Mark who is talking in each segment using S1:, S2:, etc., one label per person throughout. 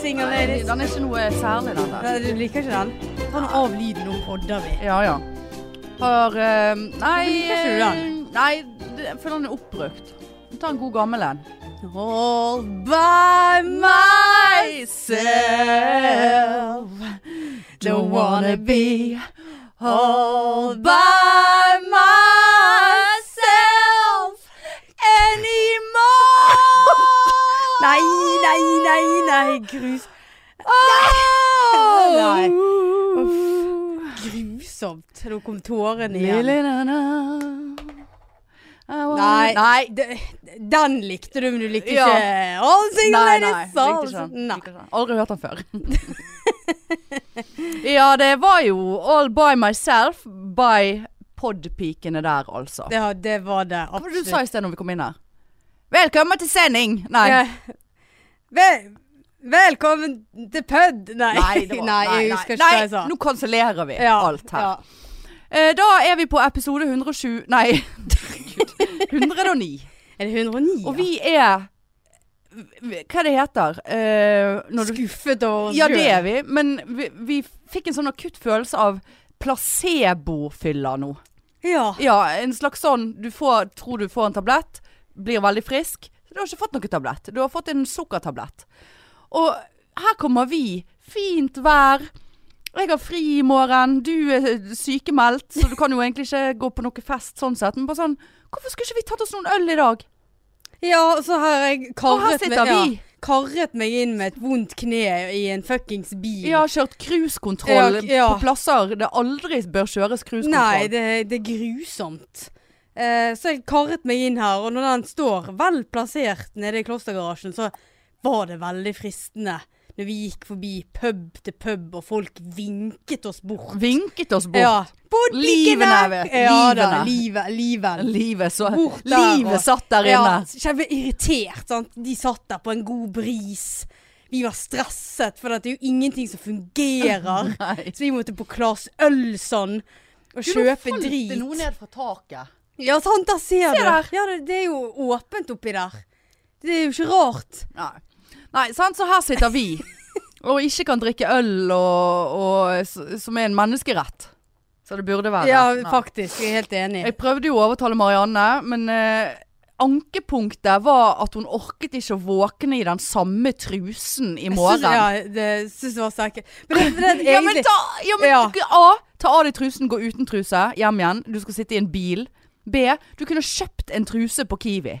S1: singelen
S2: Nei,
S1: deres.
S2: Den er ikke noe særlig, den der.
S1: Nei, Du liker ikke den? Ta noe av lyden om odder vi.
S2: Ja, ja. Har eh, Nei
S1: Hvorfor liker ikke du
S2: eh, Nei, det- jeg føler den er oppbrukt. Ta en god gammel en.
S1: All by myself. Don't wanna be all by myself anymore. Nei, nei, nei, nei. Grus. Nei.
S2: Uff.
S1: Grusomt. Nå kom tårene igjen.
S2: Lille na-na. I want-
S1: Nei,
S2: Nei.
S1: det- den likte du, men du likte
S2: Ja.
S1: ikke All single
S2: Nei,
S1: ladies
S2: nei,
S1: all-
S2: likte ikke den.
S1: Nei.
S2: Likte ikke den. Aldri hørt den før. ja, det var jo All by myself by podpikene der, altså. Hva
S1: Ja, det var det.
S2: var det
S1: Absolutt.
S2: du sa i sted når vi kom inn her? Velkommen til sending! Nei.
S1: Ja. Vel, velkommen til PUD! Nei.
S2: Nei, det var,
S1: jeg husker ikke hva jeg sa.
S2: Nå kansellerer vi
S1: Ja,
S2: alt her.
S1: ja.
S2: Eh, da er vi på episode 107 Nei, herregud. 109.
S1: Er det 109?
S2: Og vi er Hva det heter eh, når du,
S1: skuffet over oss
S2: Ja, det
S1: selv.
S2: er vi. Men vi, vi fikk en sånn akutt følelse av placebofylla nå.
S1: Ja.
S2: Ja, en slags sånn Du får, tror du får en tablett, blir veldig frisk. Så du har ikke fått noen tablett. Du har fått en sukkertablett. Og her kommer vi. Fint vær. Jeg har fri i morgen. Du er sykemeldt, så du kan jo egentlig ikke gå på noe fest sånn sett. Men bare sånn Hvorfor skulle ikke vi tatt oss noen øl i dag?
S1: Ja, og så har
S2: Og her
S1: jeg karret,
S2: sitter
S1: meg,
S2: vi.
S1: Ja, karret meg inn med et vondt kne i en fuckings bil.
S2: Jeg har kjørt cruisekontroll
S1: Ja, ja.
S2: på plasser det aldri bør kjøres
S1: Nei,
S2: cruisekontroll.
S1: det, det er grusomt. Eh, så jeg karret meg inn her, og når den står vel plassert nede i klostergarasjen, så var det veldig fristende når vi gikk forbi pub til pub, og folk vinket oss bort.
S2: Vinket oss bort.
S1: Ja. Bort
S2: Livene,
S1: likene!
S2: vet du.
S1: Ja da,
S2: Livene.
S1: livet. Livet.
S2: Livet, så,
S1: Bort der, og-
S2: livet satt der
S1: Ja,
S2: inne.
S1: kjempe irritert, sant. De satt der på en god bris. Vi var stresset, for det er jo ingenting som fungerer.
S2: Nei.
S1: Så vi måtte på Claes Ølsson og kjøpe drit.
S2: ned fra taket.
S1: Ja, sant, der ser
S2: Se
S1: du.
S2: der.
S1: Ja, det, det er jo åpent oppi der. Det er jo ikke rart.
S2: Nei. Nei, sant? Så her sitter vi og ikke kan drikke øl, og, og, s- som er en menneskerett. Så det burde være.
S1: Ja,
S2: Nei.
S1: faktisk. Jeg er helt enig.
S2: Jeg prøvde jo å overtale Marianne, men eh, ankepunktet var at hun orket ikke å våkne i den samme trusen i morgen.
S1: Jeg synes- Ja, det syns jeg var sterkt. Men det, det er egentlig
S2: Ja, men ta, ja, men,
S1: Ja.
S2: A, ta av deg trusen, gå uten truse hjem igjen. Du skal sitte i en bil. B, du kunne kjøpt en truse på Kiwi.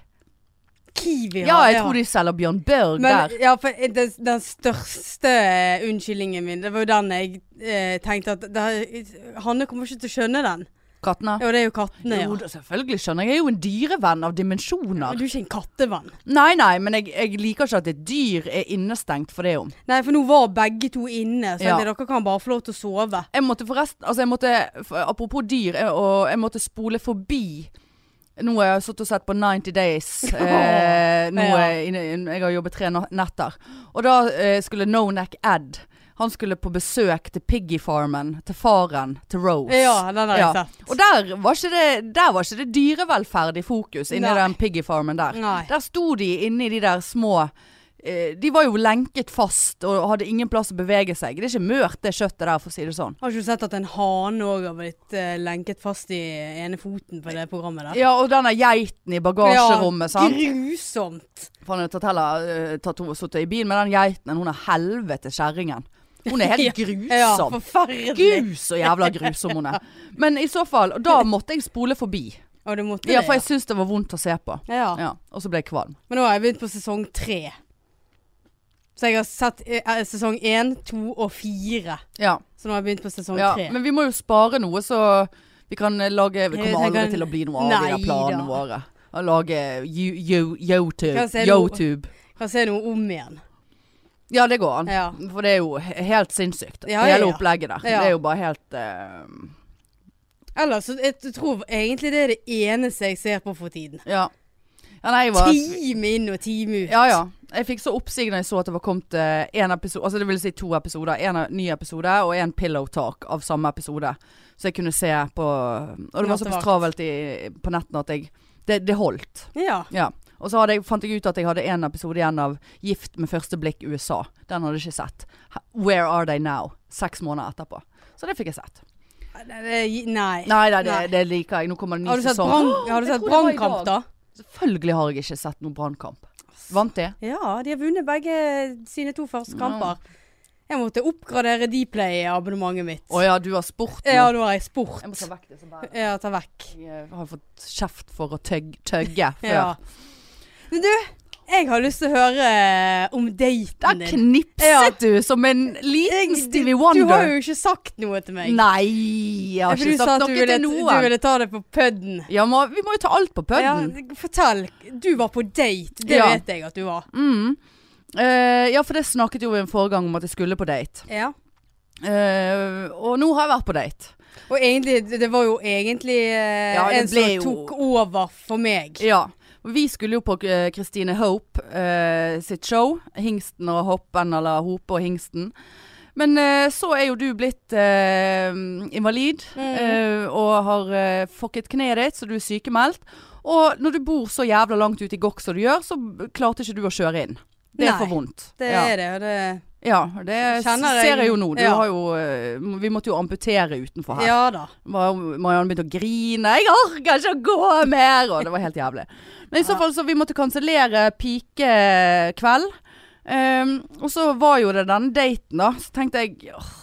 S1: Kiwi
S2: Ja, jeg tror de selger Bjørn Børg
S1: men,
S2: der.
S1: ja, for eh, den, den største eh, unnskyldningen min, det var jo den jeg eh, tenkte at det, eh, Hanne kommer ikke til å skjønne den.
S2: Kattene.
S1: Ja, det er jo kattene, ja.
S2: Jo, da, selvfølgelig skjønner jeg. Jeg er jo en dyrevenn av dimensjoner.
S1: Men Du er ikke en kattevenn.
S2: Nei, nei, men jeg, jeg liker ikke at et dyr er innestengt for det om.
S1: Nei, for nå var begge to inne, så
S2: Ja.
S1: dere kan bare få lov til å sove.
S2: Jeg måtte forresten Altså, jeg måtte f- Apropos dyr, jeg, og jeg måtte spole forbi Nå har jeg sittet og sett på 90 Days. Eh, nå
S1: Ja.
S2: er jeg, inne- jeg har jobbet tre na- netter. Og da eh, skulle No Neck Ed Han skulle på besøk til Piggy Farmen. Til faren til Rose.
S1: Ja, den har jeg
S2: Ja.
S1: sett.
S2: Og der var ikke det, der var ikke det dyrevelferd i fokus inni
S1: Nei.
S2: den piggy farmen der.
S1: Nei.
S2: Der sto de inni de der små eh, De var jo lenket fast og hadde ingen plass å bevege seg. Det er ikke mørt det kjøttet der, for å si det sånn.
S1: Har ikke du sett at en hane òg har blitt eh, lenket fast i ene foten på det programmet der?
S2: Ja, og denne geiten i bagasjerommet, sant.
S1: Grusomt!
S2: Faen, jeg har tatt heller eh, tatt henne og sittet i bilen med den geiten. Hun er helvete kjerringen. Hun er helt grusom.
S1: Ja, forferdelig.
S2: Gud, så jævla grusom hun er. Men i så fall, og da måtte jeg spole forbi.
S1: Ja, du måtte
S2: Ja, for
S1: det.
S2: jeg syntes det var vondt å se på.
S1: Ja. Ja.
S2: Ja, og så ble jeg kvalm.
S1: Men nå har jeg begynt på sesong tre. Så jeg har sett eh, sesong én, to og fire.
S2: Ja.
S1: Så nå har jeg begynt på sesong
S2: Ja,
S1: tre.
S2: men vi må jo spare noe, så vi kan eh, lage Vi
S1: Jeg
S2: kommer
S1: tenker-
S2: aldri til å bli noe av de der
S1: Nei
S2: planene
S1: da.
S2: våre. Å lage you- you- YouTube.
S1: Kan jeg se noe?
S2: YouTube.
S1: Kan se noe om igjen.
S2: Ja, det går an.
S1: Ja.
S2: For det er jo he- helt sinnssykt.
S1: Ja,
S2: det
S1: ja,
S2: hele
S1: ja.
S2: opplegget der.
S1: Ja.
S2: Det er jo bare helt eh,
S1: Ellers så jeg tror egentlig det er det eneste jeg ser på for tiden.
S2: Ja. Ja, nei, jeg var
S1: Time inn og time ut.
S2: Ja, ja. Jeg fikk så oppsig når jeg så at det var kommet én episode Altså det vil si to episoder. En av- ny episode og en pillow talk av samme episode. Så jeg kunne se på Og det var
S1: Nattevakt.
S2: såpass travelt i, på nettene at jeg Det, det holdt.
S1: Ja.
S2: Ja. Og så hadde jeg, fant jeg ut at jeg hadde en episode igjen av Gift med første blikk USA. Den hadde jeg ikke sett. Ha- Where are they now? Seks måneder etterpå. Så det fikk jeg sett.
S1: Nei, det- Nei.
S2: Nei, nei, det,
S1: Nei.
S2: det liker jeg. Nå kommer det ny
S1: Har du sett
S2: sesong.
S1: brann- har du
S2: Jeg
S1: sett
S2: tror det var i
S1: Brannkamp, da?
S2: Selvfølgelig har jeg ikke sett noen Brannkamp. Vant de?
S1: Ja, de har vunnet begge sine to første kamper. Jeg måtte oppgradere Dplay-abonnementet mitt.
S2: Å ja, du har sport nå.
S1: Ja, nå har jeg sport.
S2: Jeg må ta vekk det som bærer.
S1: Ja, ta vekk.
S2: Jeg eh, har fått kjeft for å tøgge, tøgge før.
S1: Ja. Men du, jeg har lyst til å høre eh, om daten
S2: Der
S1: din.
S2: knipset
S1: Ja.
S2: du som en liten
S1: Jeg-
S2: Stevie
S1: Du har
S2: Wonder.
S1: jo ikke sagt noe til meg.
S2: Nei, jeg har
S1: For du
S2: ikke
S1: sa
S2: sagt
S1: at du
S2: noe
S1: ville-
S2: til
S1: Du
S2: noen.
S1: ville ta det på pudden.
S2: Ja, må, vi må jo ta alt på pudden.
S1: Ja, fortell. Du var på date. Det
S2: Ja.
S1: vet jeg at du var.
S2: Mm. Eh, ja, for det snakket jo vi en forrige gang om at jeg skulle på date.
S1: Ja.
S2: Eh, og nå har jeg vært på date.
S1: Og egentlig, det var jo egentlig eh,
S2: Ja, det
S1: en som
S2: ble jo-
S1: tok over for meg.
S2: Ja. Og Vi skulle jo på eh, Christine Hope eh, sitt show. Hingsten og Hoppen, eller Hope og Hingsten. Men eh, så er jo du blitt eh, invalid
S1: Mm.
S2: eh, og har eh, fucket kneet ditt, så du er sykemeldt. Og når du bor så jævla langt ute i gokk som du gjør, så klarte ikke du å kjøre inn. Det er
S1: Nei,
S2: for vondt.
S1: Det
S2: ja.
S1: er det, og det
S2: Ja, det
S1: Kjenner jeg-
S2: ser jeg jo nå. Du
S1: ja.
S2: har jo, eh, vi måtte jo amputere utenfor her.
S1: Ja da.
S2: Mar- Marianne begynte å grine. 'Jeg orker ikke å gå mer!' Og det var helt jævlig. Men i så
S1: Ja.
S2: fall så vi måtte kansellere pikekveld. Ehm, og så var jo det denne daten, da. Så tenkte jeg «Åh,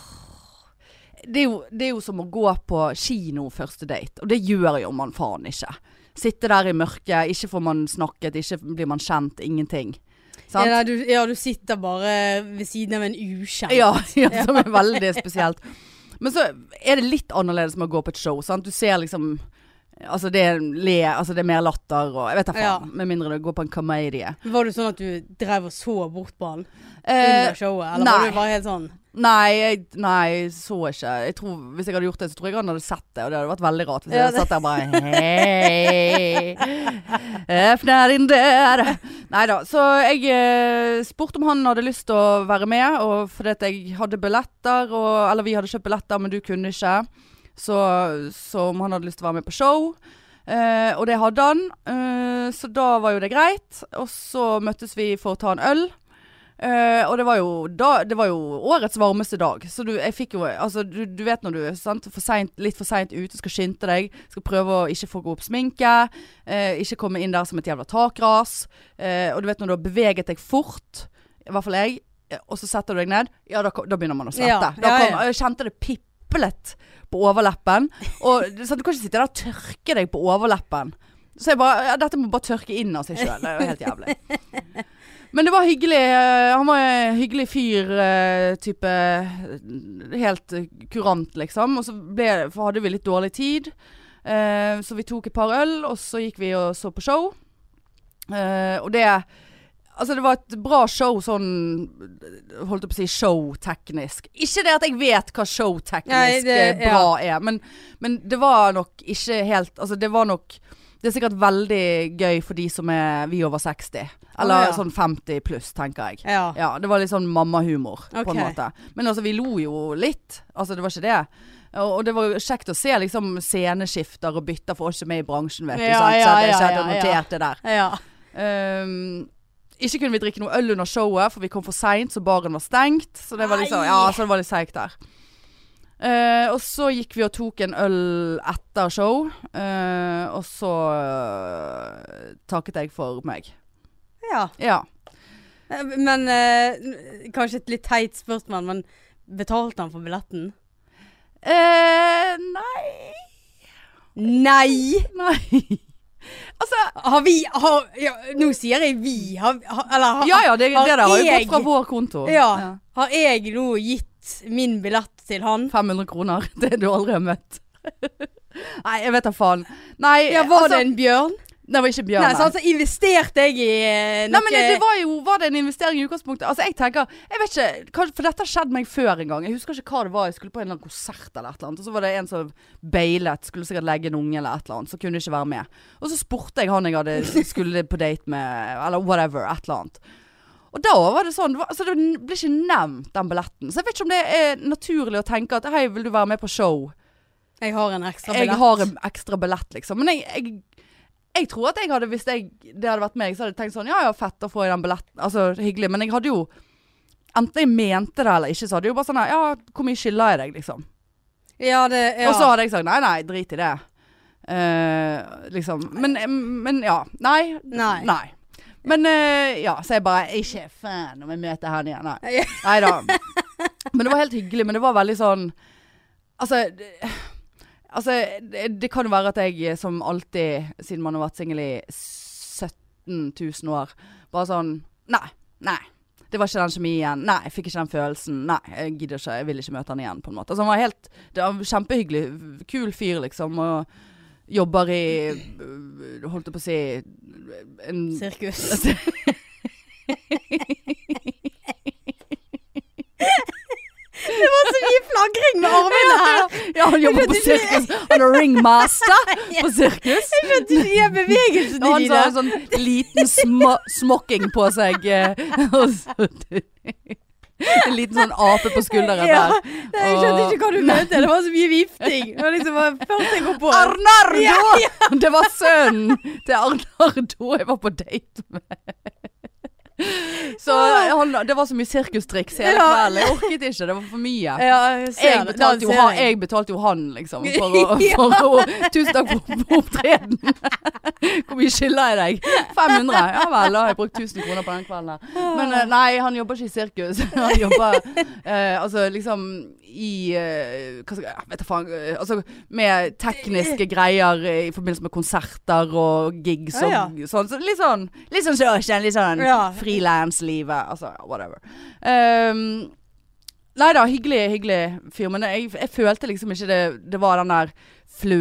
S2: det er, jo, det er jo som å gå på kino første date, og det gjør jo man faen ikke. Sitte der i mørket, ikke får man snakket, ikke blir man kjent, ingenting.
S1: Ja,
S2: Sant?
S1: nei, du, ja, du sitter bare ved siden av en ukjent.
S2: Ja, ja, som er veldig spesielt. Men så er det litt annerledes med å gå på et show. Sant? Du ser liksom Altså det er le, altså det er mer latter og Jeg vet da
S1: Ja.
S2: faen. Med mindre det går på en komedie.
S1: Var det sånn at du drev og så bort på han
S2: Eh,
S1: under showet? Eller
S2: nei.
S1: var du bare helt sånn
S2: nei, jeg, nei, jeg så ikke. Jeg tror, hvis jeg hadde gjort det, så tror jeg han hadde sett det. Og det hadde vært veldig rart hvis jeg
S1: Ja,
S2: hadde satt der bare Hei, åpne din dør. Nei da. Så jeg eh, spurte om han hadde lyst til å være med, og fordi at jeg hadde billetter, og, eller vi hadde kjøpt billetter, men du kunne ikke. Så, så om han hadde lyst til å være med på show. Eh, og det hadde han, eh, så da var jo det greit. Og så møttes vi for å ta en øl. Eh, og det var, jo da, det var jo årets varmeste dag, så du, jeg fikk jo altså, du, du vet når du er sant, for sent, litt for seint ute, skal skynde deg, skal prøve å ikke få gå opp sminke, eh, ikke komme inn der som et jævla takras. eh, og du vet når du har beveget deg fort, i hvert fall jeg, eh, og så setter du deg ned, ja da, ko- da begynner man å svette.
S1: Ja,
S2: da
S1: ja,
S2: kom,
S1: ja.
S2: Jeg kjente det piplet på overleppen. Og du- sant, du kan ikke sitte der og tørke deg på overleppen. Så jeg bare ja, Dette må bare tørke inn av seg sjøl. Det er jo helt jævlig. Men det var hyggelig. eh, Han var en hyggelig fyr. eh, Type eh, Helt eh, kurant, liksom. Og så ble, for hadde vi litt dårlig tid. Eh, Så vi tok et par øl, og så gikk vi og så på show. Eh, Og det Altså det var et bra show sånn Holdt jeg på å si showteknisk. Ikke det at jeg vet hva
S1: Nei,
S2: showteknisk
S1: det-
S2: eh, bra er, men, men det var nok ikke helt Altså det var nok det er sikkert veldig gøy for de som er vi over 60. Eller
S1: Å, ja.
S2: sånn 50 pluss, tenker jeg.
S1: Ja.
S2: Ja, det var litt sånn mammahumor på
S1: Ok.
S2: en måte. Men altså, vi lo jo litt. Altså, det var ikke det. Og og det var jo kjekt å se liksom sceneskifter og bytter for oss som er i bransjen, vet du.
S1: Ja,
S2: sant? Så
S1: ja,
S2: det
S1: ja,
S2: skjedde
S1: ja,
S2: og
S1: ja.
S2: noterte der.
S1: ja.
S2: Ehm, ikke kunne vi drikke noe øl under showet, for vi kom for seint, så baren var stengt. Så det var liksom,
S1: Nei.
S2: ja, så det var litt seigt der. Eh, og så gikk vi og tok en øl etter show, eh, og så eh, takket jeg for meg.
S1: ja.
S2: Ja.
S1: Men eh, n- Kanskje et litt teit spørsmål, men betalte han for billetten?
S2: Eh, nei
S1: Nei!
S2: Nei. Altså
S1: Har vi har, ja, Nå sier jeg vi. Har, har, eller har,
S2: Ja ja, det, det
S1: har
S2: der har jo
S1: jeg-
S2: gått fra vår konto.
S1: Ja. har jeg nå gitt min billett til han?
S2: 500 kroner. Det du aldri har møtt. Nei, jeg vet da faen. Nei,
S1: Ja, Var
S2: altså,
S1: det en bjørn?
S2: Nei, det var ikke Bjørn.
S1: Nei, så altså investerte jeg i eh,
S2: Nei,
S1: noe
S2: men det var jo Var det en investering i utgangspunktet? Altså, jeg tenker Jeg vet ikke kanskje- For dette har skjedd meg før en gang. Jeg husker ikke hva det var. Jeg skulle på en eller annen konsert eller et eller annet. Og så var det en som beilet. Skulle sikkert legge en unge eller et eller annet. Så kunne jeg ikke være med. Og så spurte jeg han jeg hadde skulle på date med, eller whatever. Et eller annet. Og da var det sånn det var, altså, Det ble ikke nevnt, den billetten. Så jeg vet ikke om det er naturlig å tenke at hei, vil du være med på show?
S1: Jeg har en ekstra
S2: jeg
S1: billett.
S2: har en ekstra billett, liksom. Men jeg, jeg, Jeg tror at jeg hadde, hvis jeg, det hadde vært meg, så hadde jeg tenkt sånn Ja ja, fett å få i den billetten. Altså hyggelig. Men jeg hadde jo Enten jeg mente det eller ikke, så hadde jeg jo bare sånn her, Ja, hvor mye skylder jeg deg, liksom?
S1: Ja, det ja.
S2: Og så hadde jeg sagt nei, nei, drit i det. Eh, liksom. Men, men ja. Nei.
S1: Nei.
S2: Men eh, ja, så jeg bare Ikke fan om jeg møter han igjen. Nei.
S1: Ja.
S2: Nei da. Men det var helt hyggelig. Men det var veldig sånn Altså det- Altså, det, det kan jo være at jeg eh, som alltid, siden man har vært singel i 17 000 år, bare sånn Nei. Nei. Det var ikke den kjemien. Nei, jeg fikk ikke den følelsen. Nei, jeg gidder ikke. Jeg vil ikke møte han igjen, på en måte. Altså, han var helt det var en Kjempehyggelig. Kul fyr, liksom. Og jobber i øh, Holdt jeg på å si en,
S1: Sirkus. det var så mye flagring med armene her.
S2: Ja, han jobber på sirkus. Han er ringmaster på sirkus.
S1: Jeg skjønte ikke de
S2: Og
S1: bevegelsene
S2: han så
S1: dine.
S2: har en sånn liten sma- smokking på seg. eh, og så- En liten sånn ape på skulderen
S1: Ja,
S2: der.
S1: Nei, jeg
S2: Oh.
S1: skjønte ikke hva du
S2: Nei.
S1: mente. Det var så mye vifting. Det var liksom bare først jeg kom på.
S2: Arnardo!
S1: Ja,
S2: Det var sønnen til Arnardo jeg var på date med. Så han, det var så mye sirkustriks hele
S1: Ah. Ja.
S2: kvelden. Jeg orket ikke, det var for mye.
S1: Ja, jeg ser
S2: Jeg
S1: det.
S2: betalte, jo
S1: Da ser
S2: han,
S1: jeg.
S2: jeg betalte jo han, liksom. For å, for å, tusen takk for, for opptreden. Hvor mye skylder jeg deg? 500? Ja vel, da har jeg brukt 1000 kroner på den kvelden. der. Men eh, nei, han jobber ikke i sirkus. Han jobber eh, altså liksom i eh, hva skal, jeg- ja, Vet da faen. eh, Altså med tekniske greier eh, i forbindelse med konserter og gigs og
S1: Ja,
S2: sånn. Så litt sånn Litt sånn Sjøsjen, litt sånn
S1: Ja.
S2: frilanslivet. Altså whatever. Um, Nei da, hyggelig, hyggelig fyr. Men jeg, jeg følte liksom ikke det, det var den der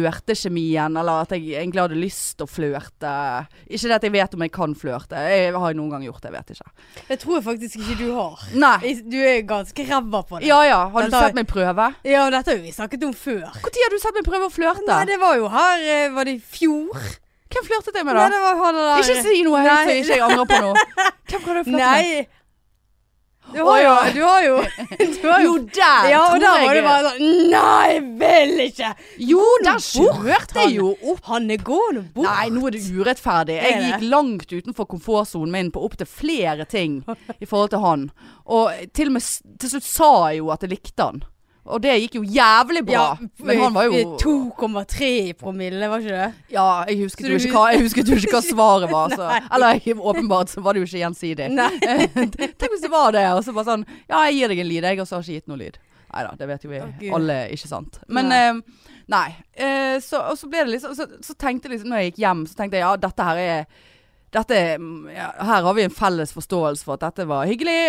S2: flørtekjemien, eller at jeg egentlig hadde lyst til å flørte. Ikke det at jeg vet om jeg kan flørte. Jeg har jo noen gang gjort det, jeg vet ikke.
S1: Det tror jeg faktisk ikke du har.
S2: Nei.
S1: Du er ganske ræva på det.
S2: Ja ja, har du
S1: Dette har-
S2: sett meg prøve?
S1: Ja, og dette har jo vi snakket om før.
S2: Når har du sett meg prøve å flørte?
S1: Nei, det var jo her eh, Var det i fjor?
S2: Hvem flørtet jeg med
S1: Nei,
S2: da?
S1: det var han der
S2: Ikke si noe høyt
S1: Nei.
S2: så ikke jeg angrer på noe. Hvem prøvde jeg å flørte med?
S1: Nei. Du har jo Du har jo, du har
S2: Jo,
S1: jo.
S2: der
S1: Ja, og da
S2: tror
S1: var det
S2: jeg
S1: bare sånn Nei, jeg vil ikke!
S2: Jo, der
S1: bort,
S2: skjørte jeg jo opp.
S1: Han er gående bort.
S2: Nei, nå er det urettferdig.
S1: Er
S2: Jeg
S1: det?
S2: gikk langt utenfor komfortsonen min på opptil flere ting i forhold til han. Og til og med s- til slutt sa jeg jo at jeg likte han. Og det gikk jo jævlig bra. men han var jo
S1: 2,3 i promille, var ikke det?
S2: Ja, jeg husket,
S1: Så
S2: jo
S1: du-
S2: ikke hva, jeg husket jo ikke hva svaret var. Så.
S1: Nei.
S2: Eller jeg- åpenbart så var det jo ikke gjensidig.
S1: Nei.
S2: Tenk hvis det var det, og så bare sånn Ja, jeg gir deg en lyd, jeg, og så har jeg ikke gitt noe lyd. Nei da, det vet jo vi
S1: Gud.
S2: alle, ikke sant. Men
S1: Nei.
S2: eh, nei. Eh, så, og så ble det liksom så, så tenkte jeg liksom, når jeg gikk hjem, så tenkte jeg ja, dette her er dette, er- ja, her har vi en felles forståelse for at dette var hyggelig,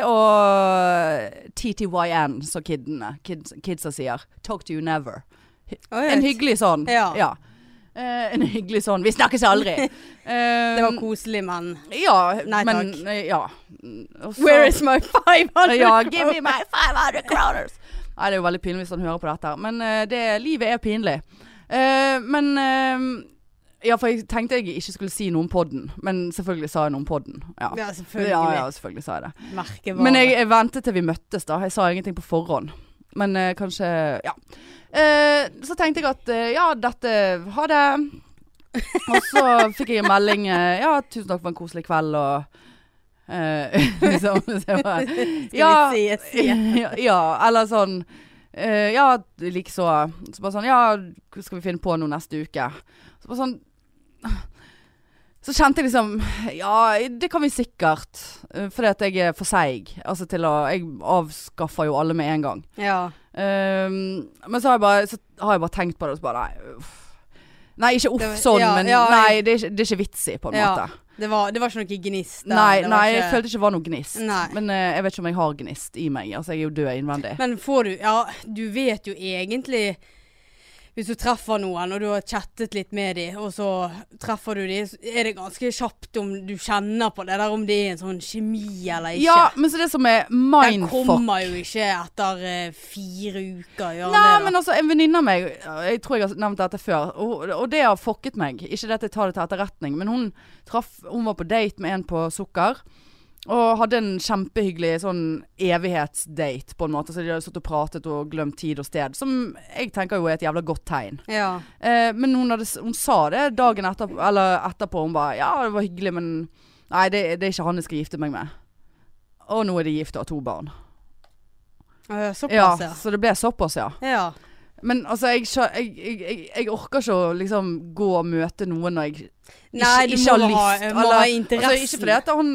S2: og TTYN, som kidene, kids, kidsa sier. Talk to you never.
S1: Å, jeg
S2: En
S1: vet.
S2: hyggelig sånn.
S1: Ja.
S2: Eh, en hyggelig sånn. Vi snakkes aldri. Eh,
S1: Det var koselig, men
S2: Ja,
S1: Nei,
S2: men
S1: takk.
S2: eh, Ja. Og så-
S1: Where is my 500?
S2: Ja, give me my 500 kroners! Nei, det er jo veldig pinlig hvis han hører på dette, her, men eh, det, livet er pinlig. Eh, men eh, Ja, for jeg tenkte jeg ikke skulle si noe om podden, men selvfølgelig sa jeg noe om podden. Ja,
S1: Ja,
S2: ja, ja
S1: selvfølgelig.
S2: selvfølgelig sa jeg det.
S1: Merkevare.
S2: Men jeg, jeg ventet til vi møttes da. Jeg sa ingenting på forhånd. Men eh, kanskje Ja. Eh, så tenkte jeg at eh, ja, dette Ha det. Og så fikk jeg en melding eh, Ja, tusen takk for en koselig kveld og eh, liksom, så jeg bare,
S1: Skal
S2: ja.
S1: vi ses igjen?
S2: ja, eller sånn eh, Ja, likeså. Så bare sånn Ja, skal vi finne på noe neste uke? Så bare sånn Så kjente jeg liksom Ja, det kan vi sikkert. eh, Fordi at jeg er for seig. Altså til å Jeg avskaffer jo alle med en gang.
S1: Ja.
S2: Ehm, men så har, jeg bare, så har jeg bare tenkt på det, og så bare Nei, uff. Nei, ikke
S1: Det
S2: uff
S1: var-
S2: sånn,
S1: ja,
S2: men
S1: ja,
S2: nei, det er, ikke, det er ikke vits i, på en
S1: Ja,
S2: måte.
S1: Det var, det var ikke noe gnist der.
S2: Nei,
S1: Det var
S2: nei,
S1: ikke-
S2: jeg følte ikke det var noe gnist.
S1: Nei.
S2: Men eh, jeg vet ikke om jeg har gnist i meg. Altså, jeg er jo død innvendig.
S1: Men får du Ja, du vet jo egentlig Hvis du treffer noen, og du har chattet litt med dem, og så treffer du dem, så er det ganske kjapt om du kjenner på det der, om det er en sånn kjemi eller ikke.
S2: Ja, men så det som er
S1: Den
S2: mindfuck
S1: kommer jo ikke etter eh, fire uker. Gjør den
S2: Nei,
S1: det, da?
S2: men altså, en venninne av meg Jeg tror jeg har nevnt dette før, og, og det har fucket meg. Ikke det at jeg tar det til etterretning, men hun traff Hun var på date med en på sukker. Og hadde en kjempehyggelig sånn evighetsdate, på en måte. Så de hadde stått og pratet og glemt tid og sted. Som jeg tenker jo er et jævla godt tegn.
S1: Ja.
S2: Eh, men hun, hadde, s- hun sa det dagen etterpå, eller etterpå. Hun bare Ja, det var hyggelig, men Nei, det, det er ikke han jeg skal gifte meg med. Og nå er de gift og har to barn.
S1: Øh,
S2: Ja,
S1: Såpass, ja.
S2: Så det ble såpass, ja.
S1: Ja.
S2: Men altså, jeg, skjø- jeg, jeg, jeg, jeg orker ikke å liksom gå og møte noen når jeg
S1: Nei, du
S2: ikke har
S1: må ha,
S2: lyst, eller-
S1: må ha
S2: Altså,
S1: interessen.
S2: ikke fordi at han,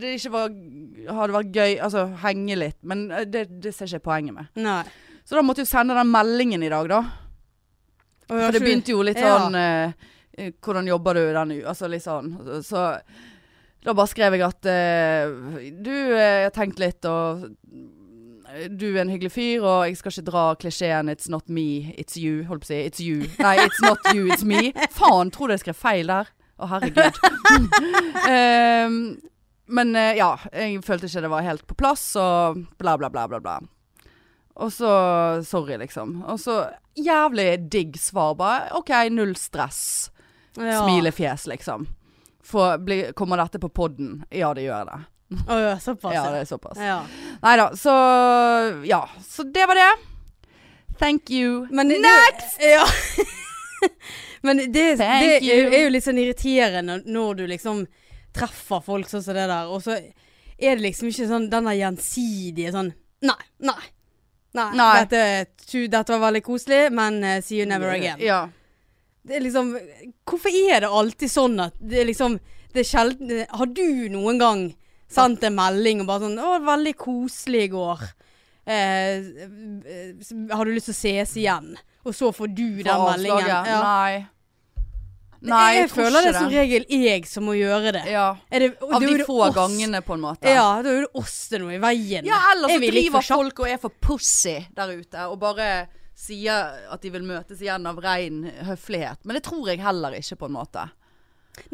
S2: det ikke var, hadde vært gøy, altså henge litt, men eh, det, det ser ikke jeg poenget med.
S1: Nei.
S2: Så da måtte jeg jo sende den meldingen i dag, da.
S1: Og jeg
S2: For
S1: har
S2: det
S1: ikke-
S2: begynte jo litt
S1: Ja.
S2: sånn eh, eh, Hvordan jobber du den u- Altså litt sånn. Så da bare skrev jeg at eh, du, eh, jeg har tenkt litt, og eh, du er en hyggelig fyr, og jeg skal ikke dra klisjeen 'it's not me, it's you'. Holdt på å si 'it's you'. Nei, 'it's not you, it's me'. Faen, tror du jeg skrev feil der? Å, herregud. Ehm, men eh, ja, jeg følte ikke det var helt på plass, og bla, bla, bla, bla. bla. Og så Sorry, liksom. Og så jævlig digg svar, bare. OK, null stress.
S1: ja.
S2: Smilefjes, liksom. For, bli, kommer dette på podden? Ja, det gjør det.
S1: Å, ja, såpass,
S2: Ja, det
S1: ja.
S2: er såpass.
S1: ja.
S2: Nei da, så Ja. Så det var det. Thank you.
S1: Men det, Next! Ja. Men det, det
S2: Thank
S1: er, jo-
S2: you.
S1: er jo litt sånn irriterende når du liksom treffer folk sånn som det der, og så er det liksom ikke sånn den der gjensidige sånn Nei, nei. Nei.
S2: Nei.
S1: Dette, tu, dette var veldig koselig, men eh, see you never again.
S2: Ja.
S1: Det er liksom Hvorfor er det alltid sånn at det er liksom Det er sjelden Har du noen gang sendt en melding og bare sånn 'Å, veldig koselig i går'. Eh, eh, har du lyst til å ses igjen? Og så får du den
S2: For
S1: meldingen.
S2: avslaget.
S1: Ja.
S2: Nei. Nei,
S1: jeg, jeg
S2: tror
S1: føler
S2: ikke
S1: det som regel jeg som må gjøre det.
S2: Ja.
S1: Er det
S2: Av
S1: det er jo
S2: de
S1: det
S2: få
S1: oss-
S2: gangene, på en måte.
S1: Ja, da er det oss det er noe i veien.
S2: Ja, ellers så
S1: Jeg vil ikke
S2: driver
S1: få sjans-
S2: folk og er for pussy der ute og bare sier at de vil møtes igjen av ren høflighet. Men det tror jeg heller ikke, på en måte.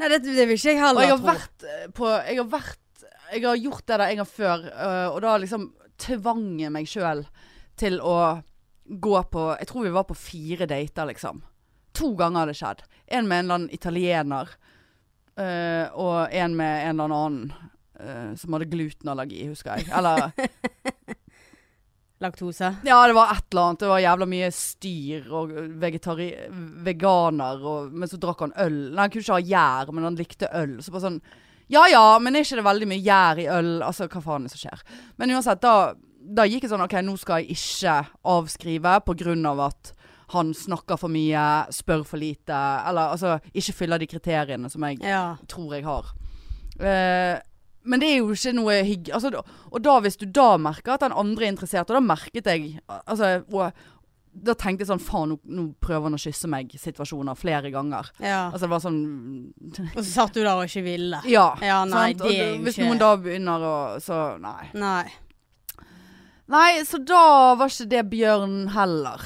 S1: Nei, det, det vil ikke jeg
S2: Og
S1: heller
S2: jeg har
S1: tro.
S2: vært eh, på Jeg har vært Jeg har gjort det der en gang før, eh, og da liksom tvang jeg meg sjøl til å gå på Jeg tror vi var på fire dater, liksom. To ganger har det skjedd. En med en eller annen italiener, eh, og en med en eller annen eh, som hadde glutenallergi, husker jeg. Eller
S1: Laktose.
S2: Ja, det var et eller annet. Det var jævla mye styr og vegetari veganer. Og, men så drakk han øl. Nei, han kunne ikke ha gjær, men han likte øl. Så bare sånn Ja ja, men er ikke det veldig mye gjær i øl? Altså, hva faen er det som skjer? Men uansett, da, da gikk jeg sånn OK, nå skal jeg ikke avskrive på grunn av at han snakker for mye, spør for lite, eller altså ikke fyller de kriteriene som jeg
S1: Ja.
S2: tror jeg har. Eh, men det er jo ikke noe hygg... Altså, da- og da hvis du da merker at den andre er interessert, og da merket jeg altså, og, Da tenkte jeg sånn faen, nå, nå prøver han å kysse meg-situasjoner flere ganger.
S1: ja.
S2: Altså det var sånn
S1: Og så satt du der og ikke ville.
S2: Ja.
S1: Ja, nei,
S2: sant? Og
S1: det er jo
S2: da-
S1: ikke
S2: hvis noen da begynner å Så nei.
S1: Nei.
S2: Nei, så da var ikke det Bjørn heller.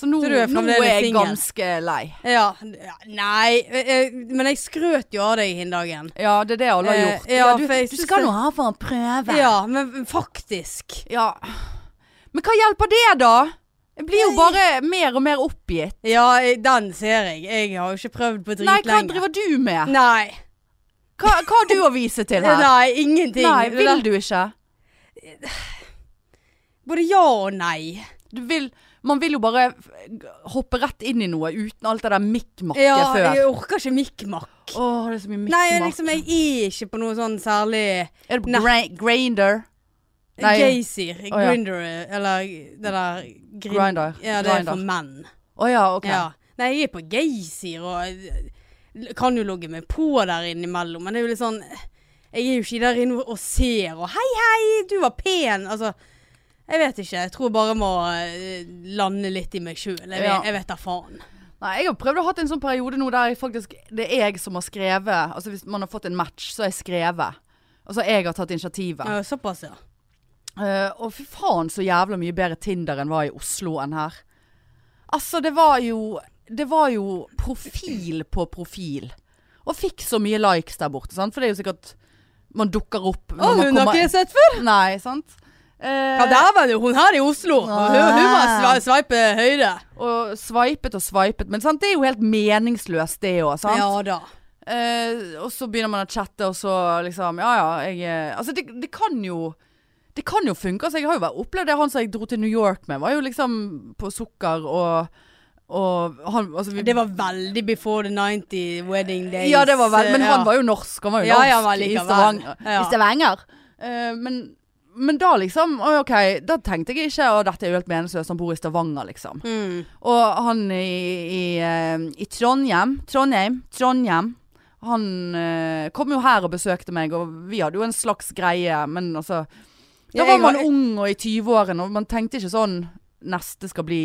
S2: Så nå,
S1: Så du er
S2: nå
S1: fremdeles
S2: er jeg
S1: singel?
S2: ganske lei.
S1: Ja, ja, nei eh, Men jeg skrøt jo av deg den dagen.
S2: Ja, det er det alle har
S1: Eh,
S2: gjort.
S1: ja,
S2: du,
S1: for jeg
S2: du
S1: synes
S2: skal nå
S1: det-
S2: her for å prøve.
S1: Ja, men faktisk.
S2: Ja. Men hva hjelper det, da? Jeg blir jo bare mer og mer oppgitt.
S1: Ja, eh, den ser jeg. Jeg har jo ikke prøvd på
S2: Nei, hva
S1: dritlenge.
S2: driver du med?
S1: Nei.
S2: Hva, hva har du å vise til her?
S1: Nei, ingenting.
S2: Nei,
S1: Det
S2: vil
S1: der-
S2: du ikke?
S1: Både ja og nei.
S2: Du vil, man vil jo bare f- hoppe rett inn i noe uten alt det der mikkmakket
S1: Ja,
S2: før.
S1: jeg orker ikke mikkmakk.
S2: Å, det er så mye
S1: Nei, jeg
S2: mikkmakk.
S1: liksom, jeg er ikke på noe sånn særlig
S2: er det på
S1: Nei.
S2: gra Grainder? Nei.
S1: Gaysir,
S2: ja.
S1: grinder, eller det der grin-
S2: Grindr.
S1: Ja, det er for
S2: Grindr.
S1: menn.
S2: Å ja, ok.
S1: Ja. Nei, jeg er på Geysir og eh, kan jo logge meg på der innimellom, men det er jo litt sånn eh, Jeg er jo ikke der inne og ser og Hei, hei, du var pen. Altså Jeg vet ikke. Jeg tror jeg bare må eh, lande litt i meg sjøl. Jeg,
S2: Ja.
S1: vet- jeg vet da faen.
S2: Nei, jeg har prøvd å ha hatt en sånn periode nå der jeg faktisk, det er jeg som har skrevet. Altså hvis man har fått en match, så har jeg skrevet. Altså jeg har tatt initiativet.
S1: Ja, såpass, ja.
S2: Eh, og fy faen så jævla mye bedre Tinder enn var i Oslo enn her. Altså, det var jo Det var jo profil på profil. Og fikk så mye likes der borte, sant? for det er jo sikkert Man dukker opp når
S1: Å,
S2: man
S1: hun har
S2: kommer
S1: ikke jeg sett før!
S2: Nei, sant? Eh,
S1: Ja, der var det hun her i Oslo. Hun, hun var
S2: Ah.
S1: sve- sveipe høyde.
S2: Eh, og sveipet og sveipet. Men sant? det er jo helt meningsløst, det òg.
S1: Ja da.
S2: Eh, og så begynner man å chatte, og så liksom Ja ja, jeg eh, Altså, det, det kan jo Det kan jo funke. Altså, jeg har jo vært- opplevd det. Han som jeg dro til New York med, var jo liksom på sukker og og han, altså vi,
S1: Det var veldig before the 90 wedding days. eh,
S2: ja, det var vel, men
S1: Ja.
S2: han var jo norsk. Han var jo
S1: Ja,
S2: norsk
S1: ja,
S2: i
S1: men likevel.
S2: Stavanger.
S1: Ja.
S2: I Stavanger. Eh, men, men da liksom oi, OK, da tenkte jeg ikke at dette er jo helt meningsløst, han bor i Stavanger, liksom.
S1: Mm.
S2: Og han i, i, eh, i Trondheim Trondheim, Trondheim Han eh, kom jo her og besøkte meg, og vi hadde jo en slags greie, men altså
S1: Ja,
S2: Da var
S1: jeg
S2: man
S1: har-
S2: ung og i 20-årene, og man tenkte ikke sånn Neste skal bli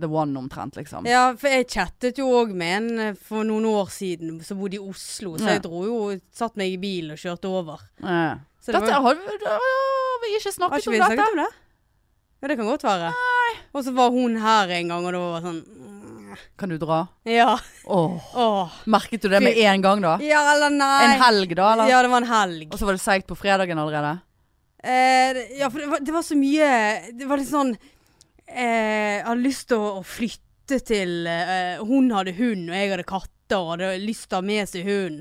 S2: the one, omtrent, liksom.
S1: Ja, for jeg chattet jo òg med en eh, for noen år siden som bodde i Oslo, så
S2: Ja.
S1: jeg dro jo Satt meg i bilen og kjørte over.
S2: Eh.
S1: Så det
S2: Dette
S1: var,
S2: har vi, da har vi ikke
S1: har
S2: snakket
S1: ikke
S2: om
S1: vi
S2: dette.
S1: snakket om det? Ja, det kan godt være. Og så var hun her en gang, og det var sånn mm,
S2: Kan du dra?
S1: Ja.
S2: Åh,
S1: Åh.
S2: merket du det med en gang da?
S1: Ja eller nei.
S2: En helg da, eller?
S1: Ja, det var en helg.
S2: Og så var det seigt på fredagen allerede?
S1: Eh, det- ja, for det var, det var så mye Det var litt sånn eh, Jeg hadde lyst til å, å flytte til eh, Hun hadde hund, og jeg hadde katter, og hadde lyst til å ha med seg hund.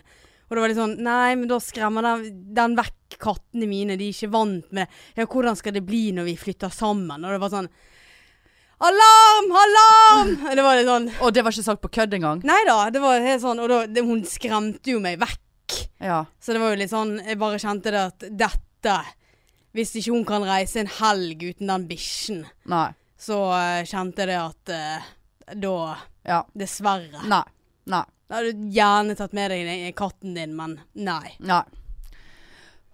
S1: Og det var litt sånn Nei, men da skremmer den, den vekk kattene mine. De er ikke vant med Ja, hvordan skal det bli når vi flytter sammen? Og det var sånn Alarm! Alarm! Det var litt sånn
S2: Og det var ikke sagt på kødd engang?
S1: Nei da. Det var helt sånn Og da, det, hun skremte jo meg vekk.
S2: Ja.
S1: Så det var jo litt sånn, jeg bare kjente det at dette, hvis ikke hun kan reise en helg uten den bikkjen,
S2: Nei.
S1: så eh, kjente jeg det at eh, da,
S2: Ja.
S1: dessverre.
S2: Nei. Nei.
S1: Da hadde du gjerne tatt med deg den- katten din, men nei.
S2: Nei.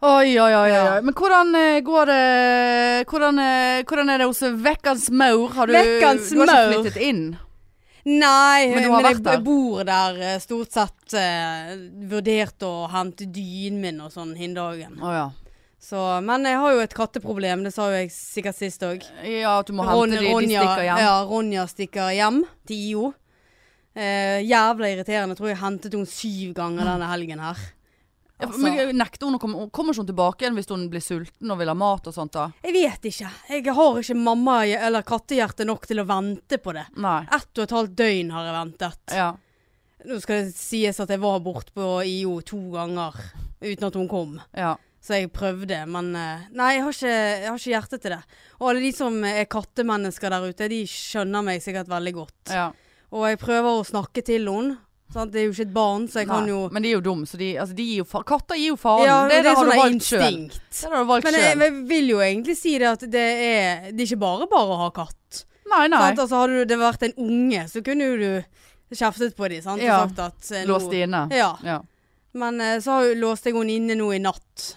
S2: Oi, oi, oi. oi.
S1: Ja.
S2: Men hvordan eh, går det hvordan, eh, hvordan er det hos Vekkans maur? Har du,
S1: Vekkans
S2: du har ikke
S1: maur.
S2: flyttet inn?
S1: Nei,
S2: Men
S1: men,
S2: du har
S1: jeg
S2: vært der?
S1: b- bor der eh, stort sett eh, vurdert å hente dynen min og sånn hindagen.
S2: Å ja.
S1: Så, men jeg har jo et katteproblem, det sa jo jeg sikkert sist òg.
S2: Ja, at du må
S1: Ron-
S2: hente de, de stikker hjem.
S1: Ja, Ronja stikker hjem til IO. Eh, jævla irriterende. Jeg tror jeg hentet henne syv ganger denne helgen her.
S2: Ja,
S1: Altså,
S2: Men nekter hun å komme Kommer ikke hun tilbake igjen hvis hun blir sulten og vil ha mat og sånt da?
S1: jeg vet ikke. Jeg har ikke mamma eller kattehjerte nok til å vente på det.
S2: Nei.
S1: Ett og et halvt døgn har jeg ventet.
S2: Ja.
S1: Nå skal det sies at jeg var borte på IO to ganger uten at hun kom.
S2: Ja.
S1: Så jeg prøvde, men eh, Nei, jeg har ikke, jeg har ikke hjerte til det. Og alle de som er kattemennesker der ute, de skjønner meg sikkert veldig godt.
S2: ja.
S1: Og jeg prøver å snakke til henne. Sant? Det er jo ikke et barn, så jeg kan
S2: Nei,
S1: jo
S2: Men de er jo dumme, så de, altså, de gir jo fa katter gir jo faen.
S1: Ja,
S2: det, det, har du
S1: sånne
S2: valgt sjøl.
S1: sånn instinkt.
S2: Det har du valgt
S1: Men jeg,
S2: sjøl.
S1: jeg vil jo egentlig si det at det er, det er ikke bare bare å ha katt.
S2: Nei, nei.
S1: Sant? Altså, hadde du- det vært en unge, så kunne jo du kjeftet på dem sant?
S2: Ja.
S1: og sagt at eh, nå-
S2: Låst inne.
S1: Ja.
S2: Ja.
S1: Men eh, så har jo- låste jeg henne inne nå i natt.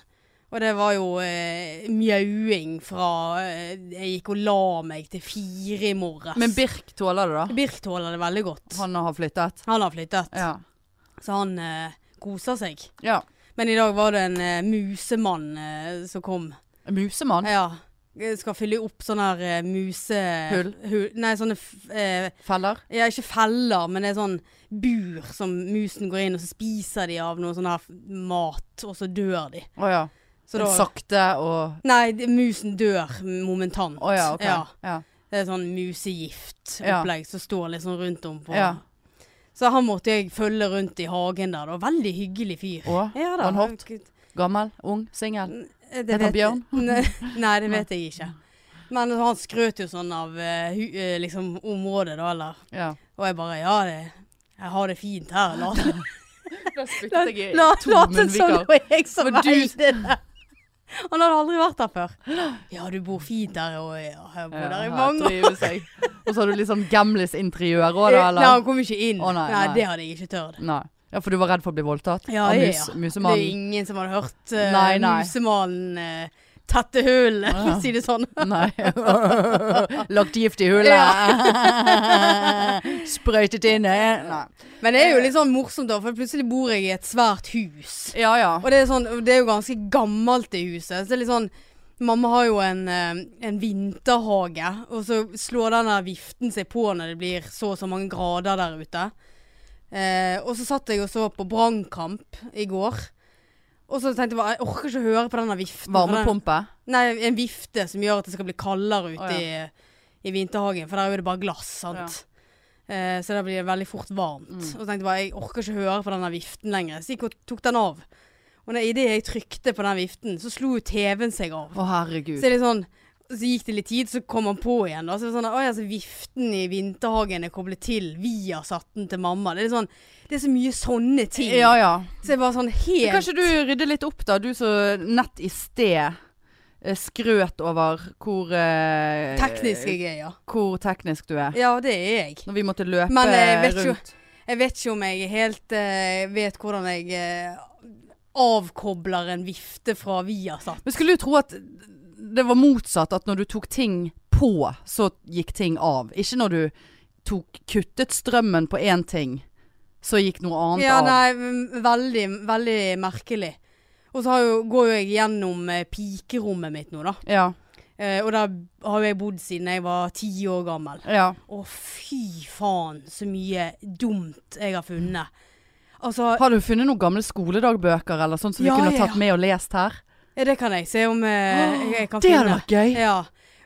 S1: Og det var jo eh, mjauing fra eh, jeg gikk og la meg til fire i morges.
S2: Men Birk tåler det, da?
S1: Birk tåler det veldig godt. Han,
S2: Han har flyttet?
S1: har flyttet,
S2: Ja.
S1: så han eh, koser seg.
S2: ja.
S1: Men i dag var det en eh, musemann eh, som kom.
S2: En Musemann?
S1: Ja. Jeg Skal fylle opp sånne her eh, muse...
S2: Hull?
S1: Hull- Nei, sånne f- eh,
S2: Feller?
S1: Ja, ikke feller, men det er sånn bur som musen går inn, og så spiser de av noe sånn her f- mat, og så dør de.
S2: Å ja.
S1: Så da
S2: Sakte og
S1: Nei, det- musen dør momentant.
S2: Å ja, ok. Ja. Ja.
S1: Det er sånn musegiftopplegg som står liksom rundt om på
S2: Ja.
S1: Så han måtte jeg følge rundt i hagen der, da. Veldig hyggelig fyr.
S2: Og?
S1: Ja
S2: Var han hot?
S1: Gud.
S2: Gammel? Ung? Singel?
S1: Eh,
S2: Heter
S1: det
S2: han
S1: vet jeg-
S2: Bjørn?
S1: Nei, nei, det vet jeg ikke. Men han skrøt jo sånn av eh, hu, eh, liksom, området, da, eller
S2: Ja.
S1: Og jeg bare Ja, det, jeg har det fint her. La
S2: Da spyttet jeg
S1: la- late som det var jeg som
S2: For du-
S1: eide det. Han hadde aldri vært der før. Ja, du bor fint der, og jeg har bodd der i mange år.
S2: år. Og så har du litt sånn gamlis-interiør òg, da?
S1: Nei,
S2: Eller?
S1: han kom ikke inn.
S2: Å, nei, nei.
S1: det hadde jeg ikke tørt.
S2: Nei. Ja, for du var redd for å bli voldtatt?
S1: Ja,
S2: av
S1: ja,
S2: mus,
S1: ja. Det er
S2: musemannen?
S1: ingen som hadde hørt eh,
S2: Nei, nei.
S1: musemannen eh, tette hull, for å si det sånn.
S2: Nei. Lagt gift i hullet. Sprøytet inn. eh. Nei.
S1: Men det er jo litt sånn morsomt, da, for plutselig bor jeg i et svært hus.
S2: Ja ja.
S1: Og det er, sånn, det er jo ganske gammelt, det huset. Så det er litt sånn Mamma har jo en, eh, en vinterhage, og så slår den der viften seg på når det blir så og så mange grader der ute. Eh, og så satt jeg og så på Brannkamp i går. Og så tenkte jeg bare, jeg orker ikke å høre på den der viften. for den-
S2: Varmepumpe.
S1: Nei, en vifte som gjør at det skal bli kaldere ute
S2: Å,
S1: i, i vinterhagen, for der er jo det bare glass, sant. Eh, så da blir det veldig fort varmt.
S2: Mm.
S1: Og så tenkte jeg bare, jeg orker ikke høre på denne viften lenger. Så jeg gikk og tok den av. Og når- i det jeg trykte på den viften, så slo jo TV-en seg av.
S2: Å, herregud.
S1: Så er det sånn, så gikk det litt tid, så kom han på igjen. Da. Så det var sånn, Oi, altså, viften i vinterhagen er koblet til. Vi har satt den til mamma. Det er, litt sånn, det er så mye sånne ting.
S2: Ja, ja.
S1: Så jeg var sånn helt
S2: Kanskje du rydder litt opp, da. Du som nett i sted eh, skrøt over hvor eh,
S1: teknisk jeg er, ja.
S2: Hvor teknisk du er.
S1: Ja, det er jeg.
S2: Når vi måtte løpe
S1: Men jeg vet ikke-
S2: rundt.
S1: Jeg vet ikke om jeg helt eh, vet hvordan jeg eh, avkobler en vifte fra Viasat.
S2: Men skulle du tro at det var motsatt, at når du tok ting på, så gikk ting av? Ikke når du tok, kuttet strømmen på én ting, så gikk noe annet
S1: Ja,
S2: av?
S1: nei, v- veldig, veldig merkelig. Og så har jo, går jo jeg gjennom eh, pikerommet mitt nå, da.
S2: Ja,
S1: Eh, og der har jo jeg bodd siden jeg var ti år gammel.
S2: ja.
S1: Å, fy faen, så mye dumt jeg har funnet. Altså,
S2: Har du funnet noen gamle skoledagbøker eller sånn som
S1: Ja,
S2: vi kunne
S1: ja,
S2: tatt
S1: ja.
S2: med og lest her?
S1: ja, det kan jeg se om eh, jeg, jeg kan
S2: Ah, det
S1: finne.
S2: hadde vært gøy!
S1: Ja,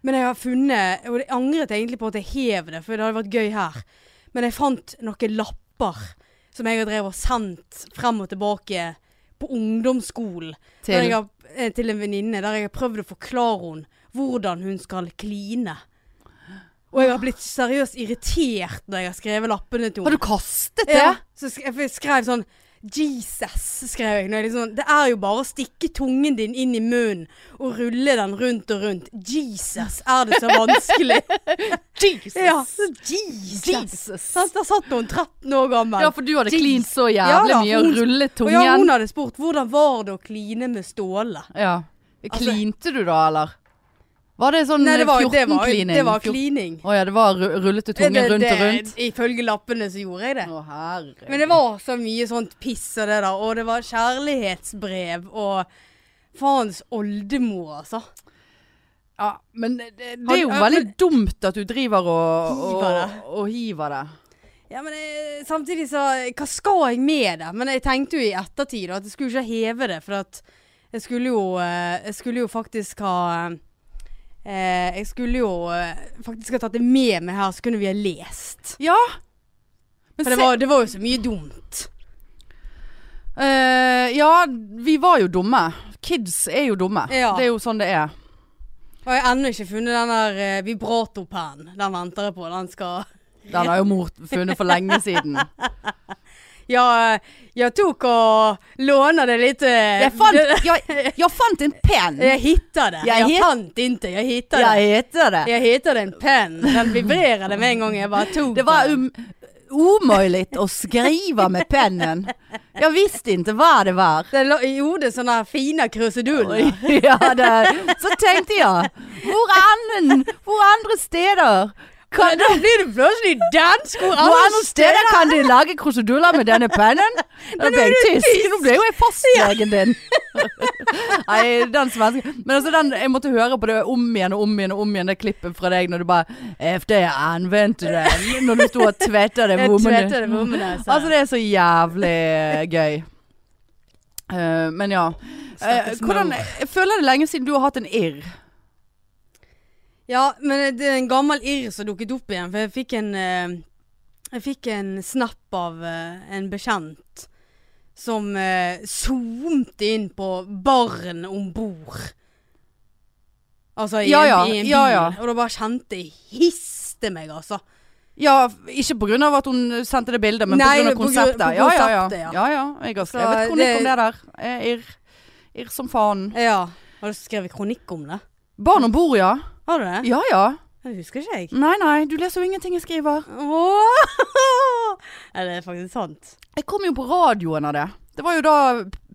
S1: men jeg har funnet, og det angret jeg egentlig på at jeg hev det, for det hadde vært gøy her. Men jeg fant noen lapper som jeg har drevet og sendt frem og tilbake på ungdomsskolen. Til, jeg
S2: Til,
S1: har, eh, til en venninne der jeg har prøvd å forklare henne hvordan hun skal kline. Og jeg har blitt seriøst irritert når jeg har skrevet lappene til
S2: har
S1: henne.
S2: du kastet det?
S1: Ja, så sk jeg skrev sånn Jesus, skrev jeg. Når jeg liksom, det er jo bare å stikke tungen din inn i munnen og rulle den rundt og rundt. Jesus, er det så vanskelig?
S2: Jesus!
S1: ja, så Jesus. Sant, der satt hun 13 år gammel.
S2: Ja, for du hadde
S1: Jesus.
S2: klint så
S1: Ja
S2: jævlig
S1: da,
S2: mye
S1: for
S2: og
S1: hun-
S2: rullet
S1: og ja,
S2: tungen.
S1: hun hadde spurt hvordan var det å kline med Ståle.
S2: Ja. Klinte du da, eller? Var det sånn
S1: Altså- Nei, det var, det var,
S2: klining
S1: det var klining.
S2: Å ja, det var ru- rullete tungen
S1: Det-
S2: rundt
S1: det-
S2: og rundt.
S1: Ifølge lappene så gjorde jeg det.
S2: Å herre.
S1: Men det var så mye sånt piss og det der, og det var kjærlighetsbrev og faens oldemor, altså.
S2: ja, men det, det
S1: Har-
S2: er jo
S1: ja,
S2: veldig
S1: men-
S2: dumt at du driver og, og,
S1: Hiver det.
S2: og hiver det.
S1: Ja, men eh, samtidig så Hva skal jeg med det? Men jeg tenkte jo i ettertid da, at jeg skulle ikke heve det, for at jeg skulle jo, eh, jeg skulle jo faktisk ha eh, Jeg skulle jo eh, faktisk ha tatt det med meg her, så kunne vi ha lest.
S2: Ja. Men
S1: For det
S2: se-
S1: var, det var jo så mye dumt.
S2: Eh, ja, vi var jo dumme. Kids er jo dumme.
S1: Ja.
S2: Det er jo sånn det er.
S1: Og jeg har ennå ikke funnet den der eh, vibratopennen. Den venter jeg på. Den skal
S2: Den har jo mor funnet for lenge siden.
S1: Ja, jeg tok og låner det litt eh,
S2: Jeg fant, jeg, jeg fant en penn!
S1: Jeg hitta det.
S2: Jeg
S1: Jeg,
S2: hit-
S1: fant inte, jeg hitta det.
S2: heter det.
S1: Jeg hitta en penn. Den vibrerade med en gang jeg bare tok
S2: Det var
S1: den.
S2: um, omöjligt å skrive med pennen. Jeg visste ikke hva det var.
S1: Det lå- gjorde sånne fine kruseduller.
S2: Ja, det, så tenkte jeg, hvor, annen, hvor andre steder kan,
S1: Da blir det plutselig dansk og
S2: hvor andre
S1: annet
S2: steder kan de lage kruseduller med denne pennen? Da ble jeg tysk, nå ble jo jeg fastlegen din. Nei, den svenske. Men altså den, jeg måtte høre på det om igjen og om igjen og om igjen, det klippet fra deg når du bare, efter jeg anvendte den, når du stod og tvetta det,
S1: Jeg
S2: vommen.
S1: tvete det vommene.
S2: Altså det er så jævlig gøy Eh, Men ja Eh,
S1: Stakkars
S2: hvordan,
S1: mor.
S2: Jeg føler det er lenge siden du har hatt en irr
S1: Ja, men det er en gammel irr som dukket opp igjen. For jeg fikk en eh, Jeg fikk en snap av eh, en bekjent som eh, zoomte inn på barn om bord. Altså i,
S2: Ja,
S1: en-
S2: ja,
S1: i en bil.
S2: ja, ja.
S1: Og da bare kjente jeg histe meg, altså.
S2: Ja, ikke på grunn av at hun sendte det bildet Men
S1: Nei,
S2: på grunn av
S1: på grunn-
S2: konseptet
S1: på
S2: ja, ja, ja.
S1: konseptet, ja.
S2: ja, ja, jeg har
S1: Så
S2: skrevet kronikk
S1: det-
S2: om det der Eh, Irr Irr som faen
S1: Ja. Har du skrevet kronikk om det?
S2: Barn om bord, ja
S1: Har du det?
S2: Ja, Mm. ja
S1: Jeg husker ikke jeg.
S2: Nei, nei, du leser jo ingenting jeg skriver
S1: Åh! Er det faktisk sant?
S2: Jeg kom jo på radioen av det Det var jo da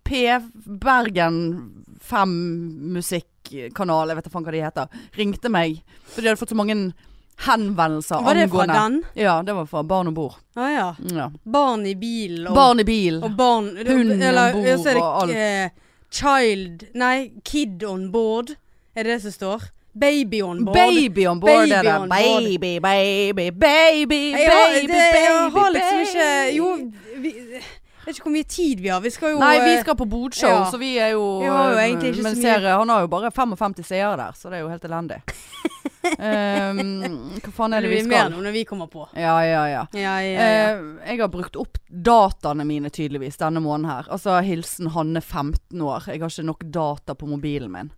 S2: P Bergen 5 musikkanal Jeg vet ikke faen hva de heter Ringte meg For de hadde fått så mange henvendelser
S1: Var det fra
S2: angående-
S1: den?
S2: Ja, det var fra Barn om bord.
S1: Å ja.
S2: Ja.
S1: Barn i bilen og
S2: Barn i bil.
S1: Og barn
S2: Hund om
S1: eller,
S2: bord
S1: ja, så er det,
S2: og alt.
S1: eh, child Nei, kid on board. Er det det som står? Baby on board.
S2: Baby om bord.
S1: Baby
S2: det der.
S1: on board.
S2: Baby, baby, baby,
S1: jeg, har-
S2: baby,
S1: det, jeg
S2: baby,
S1: har liksom ikke
S2: baby.
S1: Jo, vi, jeg vet ikke hvor mye tid vi har. Vi skal jo
S2: Nei, vi
S1: eh,
S2: skal på bodshow,
S1: ja.
S2: så vi er jo eh,
S1: Vi har jo egentlig ikke
S2: Men
S1: så mye-
S2: ser, han har jo bare 55 seere der, så det er jo helt elendig. Ehm, hva faen er
S1: Det
S2: det vi
S1: blir mer
S2: skal?
S1: nå når vi kommer på.
S2: Ja, ja, ja.
S1: Ja, ja, ja.
S2: Eh, jeg har brukt opp dataene mine tydeligvis denne måneden her. Altså hilsen Hanne 15 år. Jeg har ikke nok data på mobilen min.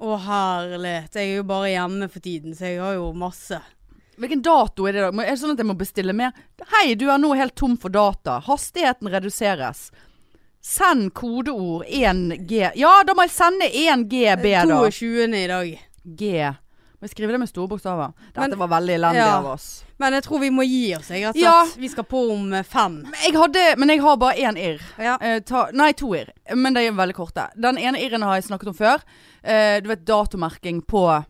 S1: Å herlighet. Jeg er jo bare hjemme for tiden, så jeg har jo masse.
S2: Hvilken dato er det da? Må- Er det sånn at jeg må bestille mer? Hei, du er nå helt tom for data. Hastigheten reduseres. Send kodeord 1G. Ja, da må jeg sende 1GB da.
S1: 22. i dag.
S2: G. Må jeg skrive det med store bokstaver? Dette
S1: Men-
S2: var veldig elendig
S1: Ja.
S2: av oss.
S1: Men jeg tror vi må gi oss, jeg. Rett og
S2: Ja.
S1: slett. Vi skal på om eh, fem.
S2: Men Jeg hadde, men jeg har bare én irr.
S1: Ja.
S2: Eh, ta, nei, to irr. Men de er veldig korte. Den ene irren har jeg snakket om før. Eh, du vet datomerking på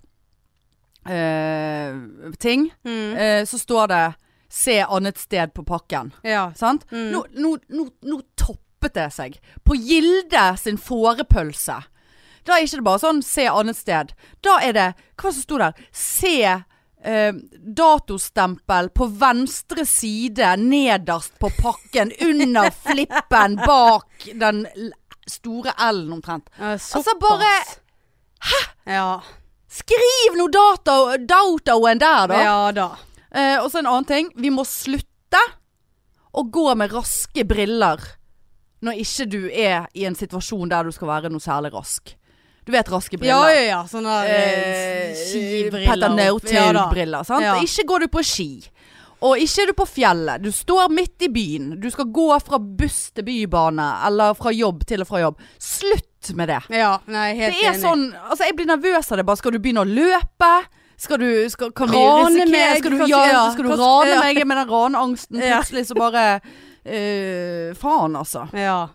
S2: eh, ting.
S1: Mm.
S2: Eh, så står det 'se annet sted' på pakken.
S1: Ja.
S2: Sant?
S1: Mm.
S2: Nå, nå, nå, nå toppet det seg. På Gilde sin fårepølse. Da er ikke det bare sånn 'se annet sted'. Da er det Hva som sto der? Se eh, datostempel på venstre side nederst på pakken under flippen bak den l- store L-en omtrent.
S1: Eh,
S2: Altså, bare-
S1: såpass. Ja.
S2: Skriv nå dato, datoen der, da!
S1: ja da.
S2: Eh, og så en annen ting. Vi må slutte å gå med raske briller når ikke du er i en situasjon der du skal være noe særlig rask. Du vet raske
S1: Ja,
S2: briller.
S1: ja, ja. Sånne eh, skibriller.
S2: Petter
S1: Ja da.
S2: Northug-briller. sant?
S1: Ja.
S2: Ikke går du på ski. Og ikke er du på fjellet. Du står midt i byen. Du skal gå fra buss til bybane, eller fra jobb til og fra jobb. Slutt med det.
S1: Ja, nei, helt
S2: Det er
S1: enig.
S2: sånn, altså jeg blir nervøs av det bare. Skal du begynne å løpe? Skal du skal, kan vi
S1: Rane
S2: risikere-
S1: meg?
S2: Skal du,
S1: Kanskje-
S2: ja,
S1: ja,
S2: skal du
S1: kanskje-
S2: rane
S1: ja.
S2: meg med den raneangsten
S1: Ja.
S2: plutselig så bare eh, Faen, altså.
S1: Ja.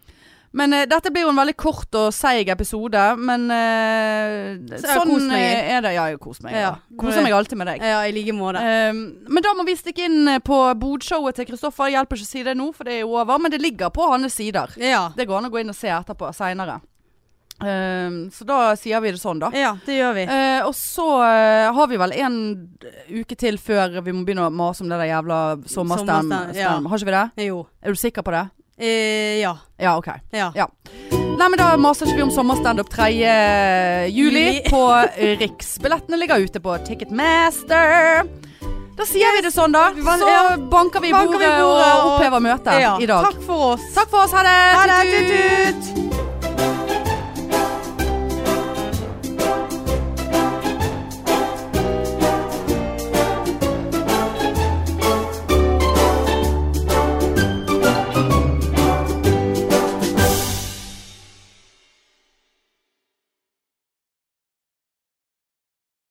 S2: Men eh, dette blir jo en veldig kort og seig episode, men eh,
S1: Så jeg har kost
S2: sånn
S1: meg.
S2: eh, er det. Ja, jeg koser meg.
S1: Ja.
S2: Ja. Koser meg alltid med deg.
S1: ja, i like måte.
S2: Eh, men da må vi stikke inn eh, på bodshowet til Kristoffer. Hjelper ikke å si det nå, for det er jo over. Men det ligger på hans sider.
S1: Ja.
S2: Det går an å gå inn og se etterpå seinere. så da sier vi det sånn, da.
S1: ja, det gjør vi.
S2: Eh, og så eh, har vi vel en uke til før vi må begynne å mase om det der jævla sommerstem.
S1: Sommerstem, ja.
S2: stem. Har ikke vi det?
S1: Eh, Jo.
S2: Er du sikker på det?
S1: Eh, ja.
S2: Ja, OK.
S1: Ja.
S2: Ja. Nei, men da maser ikke vi om sommerstandup 3. juli
S1: Juli.
S2: på Riks. Billettene ligger ute på Ticketmaster. Da sier vi det sånn, da.
S1: Hva-
S2: Så
S1: ja.
S2: banker vi i
S1: Banker vi
S2: bordet
S1: bordet
S2: og
S1: og-
S2: opphever møtet
S1: ja.
S2: i dag.
S1: Takk for oss.
S2: Takk for oss. Ha det.
S1: Ha det.
S2: Tut-tut.
S1: Tut-tut.